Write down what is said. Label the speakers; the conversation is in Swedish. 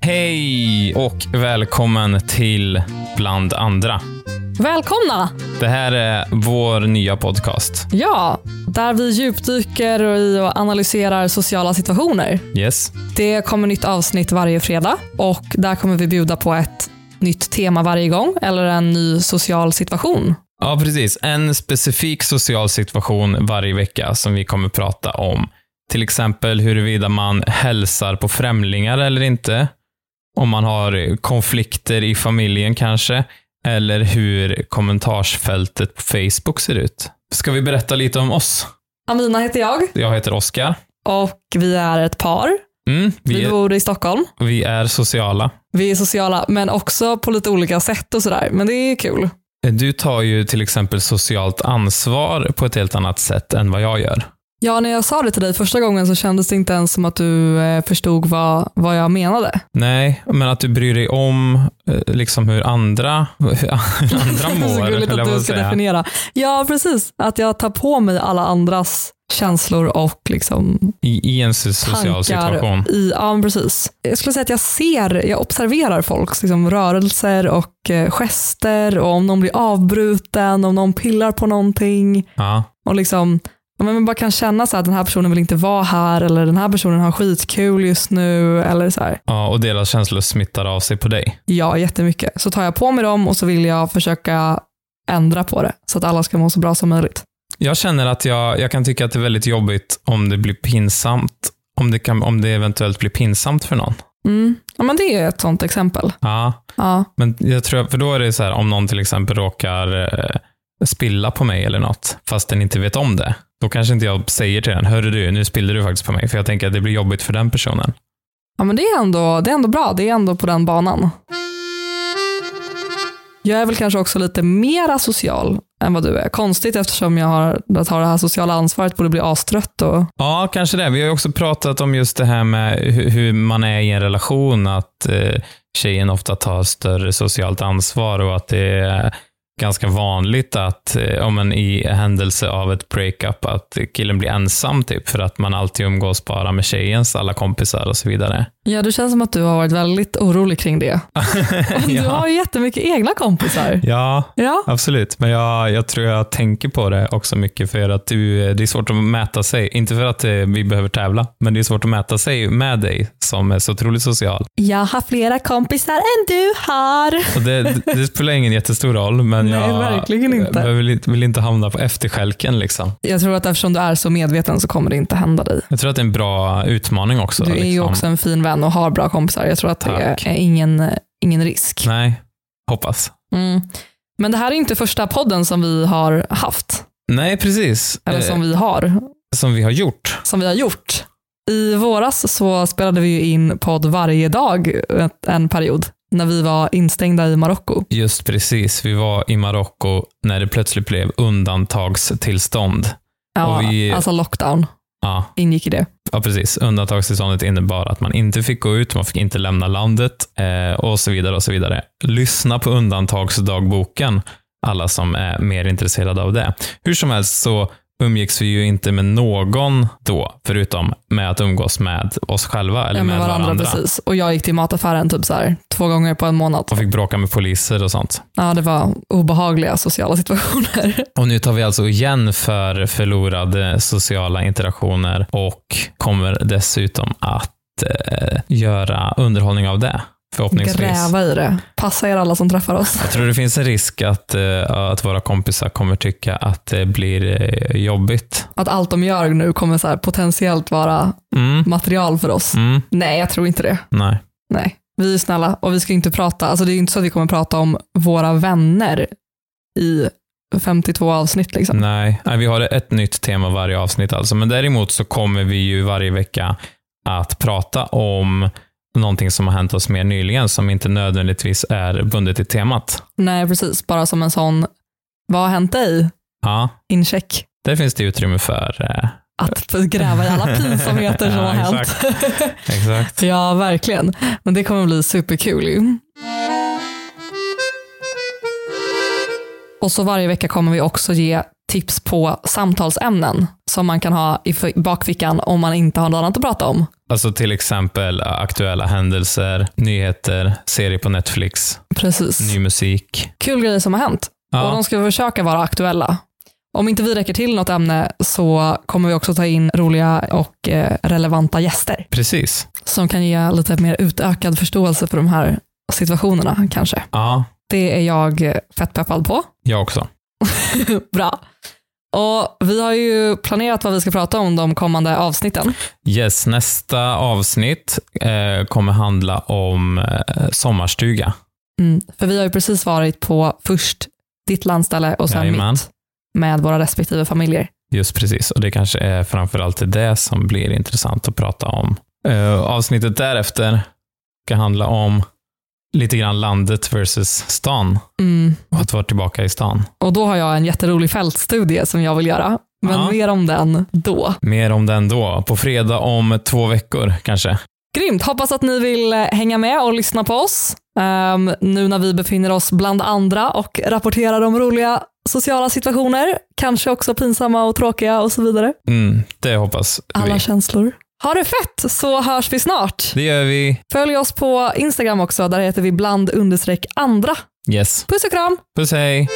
Speaker 1: Hej och välkommen till Bland andra.
Speaker 2: Välkomna!
Speaker 1: Det här är vår nya podcast.
Speaker 2: Ja, där vi djupdyker i och analyserar sociala situationer.
Speaker 1: Yes.
Speaker 2: Det kommer nytt avsnitt varje fredag och där kommer vi bjuda på ett nytt tema varje gång eller en ny social situation.
Speaker 1: Ja, precis. En specifik social situation varje vecka som vi kommer prata om. Till exempel huruvida man hälsar på främlingar eller inte. Om man har konflikter i familjen kanske. Eller hur kommentarsfältet på Facebook ser ut. Ska vi berätta lite om oss?
Speaker 2: Amina heter jag
Speaker 1: Jag heter Oskar.
Speaker 2: och vi är ett par.
Speaker 1: Mm, vi,
Speaker 2: Vi
Speaker 1: är,
Speaker 2: bor i Stockholm.
Speaker 1: vi är sociala.
Speaker 2: Vi är sociala, men också på lite olika sätt och sådär. Men det är kul.
Speaker 1: Du tar ju till exempel socialt ansvar på ett helt annat sätt än vad jag gör.
Speaker 2: Ja, när jag sa det till dig första gången så kändes det inte ens som att du eh, förstod vad, vad jag menade.
Speaker 1: Nej, men att du bryr dig om eh, liksom hur andra, hur andra
Speaker 2: så
Speaker 1: mår.
Speaker 2: gulligt
Speaker 1: eller
Speaker 2: att
Speaker 1: vad
Speaker 2: du
Speaker 1: jag
Speaker 2: ska
Speaker 1: säger.
Speaker 2: definiera. Ja, precis. Att jag tar på mig alla andras känslor och liksom
Speaker 1: I, I en so- social
Speaker 2: tankar.
Speaker 1: situation.
Speaker 2: I, ja, men precis. Jag skulle säga att jag ser, jag observerar folks liksom, rörelser och eh, gester och om någon blir avbruten, om någon pillar på någonting
Speaker 1: Ja.
Speaker 2: och liksom ja, men man bara kan känna så att den här personen vill inte vara här eller den här personen har skitkul just nu eller så här.
Speaker 1: ja, och deras känslor smittar av sig på dig.
Speaker 2: Ja, jättemycket. Så tar jag på mig dem och så vill jag försöka ändra på det så att alla ska må så bra som möjligt.
Speaker 1: Jag känner att jag, jag kan tycka att det är väldigt jobbigt om det blir pinsamt. Om det, kan, om det eventuellt blir pinsamt för någon.
Speaker 2: Mm. Ja, men det är ett sånt exempel.
Speaker 1: Ja.
Speaker 2: Ja.
Speaker 1: Men jag tror, för då är det så här, om någon till exempel råkar eh, spilla på mig eller något, fast den inte vet om det, då kanske inte jag säger till den, hörru du, nu spillde du faktiskt på mig, för jag tänker att det blir jobbigt för den personen.
Speaker 2: Ja, men det är, ändå, det är ändå bra. Det är ändå på den banan. Jag är väl kanske också lite mer asocial än vad du är. Konstigt eftersom jag har, att ha det här sociala ansvaret borde bli astrött. Och,
Speaker 1: Ja, kanske det. Vi har ju också pratat om just det här med hu- hur man är i en relation, att eh, tjejen ofta tar större socialt ansvar och att det är ganska vanligt att, eh, om man i händelse av ett breakup, att killen blir ensam typ, för att man alltid umgås bara med tjejens alla kompisar och så vidare.
Speaker 2: ja, det känns som att du har varit väldigt orolig kring det. Och Du
Speaker 1: Ja.
Speaker 2: har ju jättemycket egna kompisar.
Speaker 1: Ja,
Speaker 2: Ja,
Speaker 1: absolut. Men jag, jag tror jag tänker på det också mycket för att du, det är svårt att mäta sig. Inte för att eh, vi behöver tävla, men det är svårt att mäta sig med dig som är så otroligt social.
Speaker 2: jag har flera kompisar än du har.
Speaker 1: Och det, det spelar ingen jättestor roll, men
Speaker 2: Nej,
Speaker 1: jag
Speaker 2: verkligen inte.
Speaker 1: jag vill, inte- vill inte hamna på efterskälken. Liksom.
Speaker 2: Jag tror att eftersom du är så medveten så kommer det inte hända dig.
Speaker 1: Jag tror att det är en bra utmaning också.
Speaker 2: Du är ju
Speaker 1: liksom.
Speaker 2: också en fin vän och har bra kompisar. Jag tror att det
Speaker 1: Tack.
Speaker 2: är ingen, ingen risk.
Speaker 1: Nej, hoppas.
Speaker 2: Mm. Men det här är inte första podden som vi har haft,
Speaker 1: Nej, precis.
Speaker 2: eller som
Speaker 1: Eh,
Speaker 2: vi har,
Speaker 1: som vi har gjort.
Speaker 2: som vi har gjort. I våras så spelade vi ju in podd varje dag ett- en period när vi var instängda i Marocko.
Speaker 1: Just precis. Vi var i Marocko när det plötsligt blev undantagstillstånd.
Speaker 2: Ja,
Speaker 1: Och vi-
Speaker 2: Alltså lockdown
Speaker 1: Ja,
Speaker 2: ingick i det.
Speaker 1: Ja, precis. Undantagstillståndet innebar att man inte fick gå ut, man fick inte lämna landet eh, och så vidare. och så vidare. Lyssna på undantagsdagboken, alla som är mer intresserade av det. Hur som helst så umgicks vi ju inte med någon då, förutom med att umgås med oss själva eller
Speaker 2: Ja,
Speaker 1: med,
Speaker 2: med varandra,
Speaker 1: varandra.
Speaker 2: precis. Och jag gick till mataffären typ så här, två gånger på en månad.
Speaker 1: Och fick bråka med poliser och sånt.
Speaker 2: Ja, det var obehagliga sociala situationer.
Speaker 1: Och nu tar vi alltså igen för förlorade sociala interaktioner och kommer dessutom att eh, göra underhållning av det. Förhoppningsvis.
Speaker 2: Gräva i det. Passa er alla som träffar oss.
Speaker 1: Jag tror det finns en risk att, eh, att våra kompisar kommer tycka att det blir eh, jobbigt.
Speaker 2: Att allt de gör nu kommer så här potentiellt vara
Speaker 1: Mm.
Speaker 2: material för oss.
Speaker 1: Mm.
Speaker 2: Nej, jag tror inte det.
Speaker 1: Nej.
Speaker 2: Nej, vi är snälla och vi ska inte prata, alltså det är inte så att vi kommer prata om våra vänner i 52 avsnitt liksom.
Speaker 1: Nej. Nej, vi har ett nytt tema varje avsnitt alltså. Men däremot så kommer vi ju varje vecka att prata om någonting som har hänt oss mer nyligen som inte nödvändigtvis är bundet till temat.
Speaker 2: Nej, precis, bara som en sån, vad har hänt dig?
Speaker 1: Ja,
Speaker 2: Incheck.
Speaker 1: där finns det utrymme för. eh,
Speaker 2: Att gräva i alla pinsamheter som
Speaker 1: Ja,
Speaker 2: har hänt.
Speaker 1: Exakt.
Speaker 2: ja, verkligen. Men det kommer bli superkul ju. Och så varje vecka kommer vi också ge tips på samtalsämnen som man kan ha i f- bakfickan om man inte har något annat att prata om.
Speaker 1: Alltså till exempel ä, aktuella händelser, nyheter, serier på Netflix,
Speaker 2: Precis.
Speaker 1: ny musik.
Speaker 2: Kul grejer som har hänt. Och
Speaker 1: Ja,
Speaker 2: de ska försöka vara aktuella. Om inte vi räcker till något ämne så kommer vi också ta in roliga och eh, relevanta gäster
Speaker 1: precis.
Speaker 2: som kan ge lite mer utökad förståelse för de här situationerna kanske.
Speaker 1: Ja,
Speaker 2: Det är jag eh, fett peppad på.
Speaker 1: jag också.
Speaker 2: Bra. Och vi har ju planerat vad vi ska prata om de kommande avsnitten.
Speaker 1: Yes, nästa avsnitt eh, kommer handla om eh, sommarstuga.
Speaker 2: Mm. För vi har ju precis varit på först ditt landställe och sen
Speaker 1: Jajamän.
Speaker 2: mitt med våra respektive familjer.
Speaker 1: Just precis, och det kanske är framförallt det som blir intressant att prata om. Eh, avsnittet därefter ska handla om lite grann landet versus stan
Speaker 2: Mm.
Speaker 1: och att vara tillbaka i stan.
Speaker 2: Och då har jag en jätterolig fältstudie som jag vill göra. Men
Speaker 1: Ja.
Speaker 2: mer om den då.
Speaker 1: Mer om den då, på fredag om två veckor kanske.
Speaker 2: Grymt, hoppas att ni vill eh, hänga med och lyssna på oss. Ehm, nu när vi befinner oss bland andra och rapporterar om roliga sociala situationer. Kanske också pinsamma och tråkiga och så vidare.
Speaker 1: Mm, det hoppas
Speaker 2: Alla
Speaker 1: vi.
Speaker 2: känslor. Ha det fett så hörs vi snart.
Speaker 1: Det gör vi.
Speaker 2: Följ oss på Instagram också, där heter vi bland understreck andra.
Speaker 1: Yes.
Speaker 2: Puss och kram!
Speaker 1: Puss hej!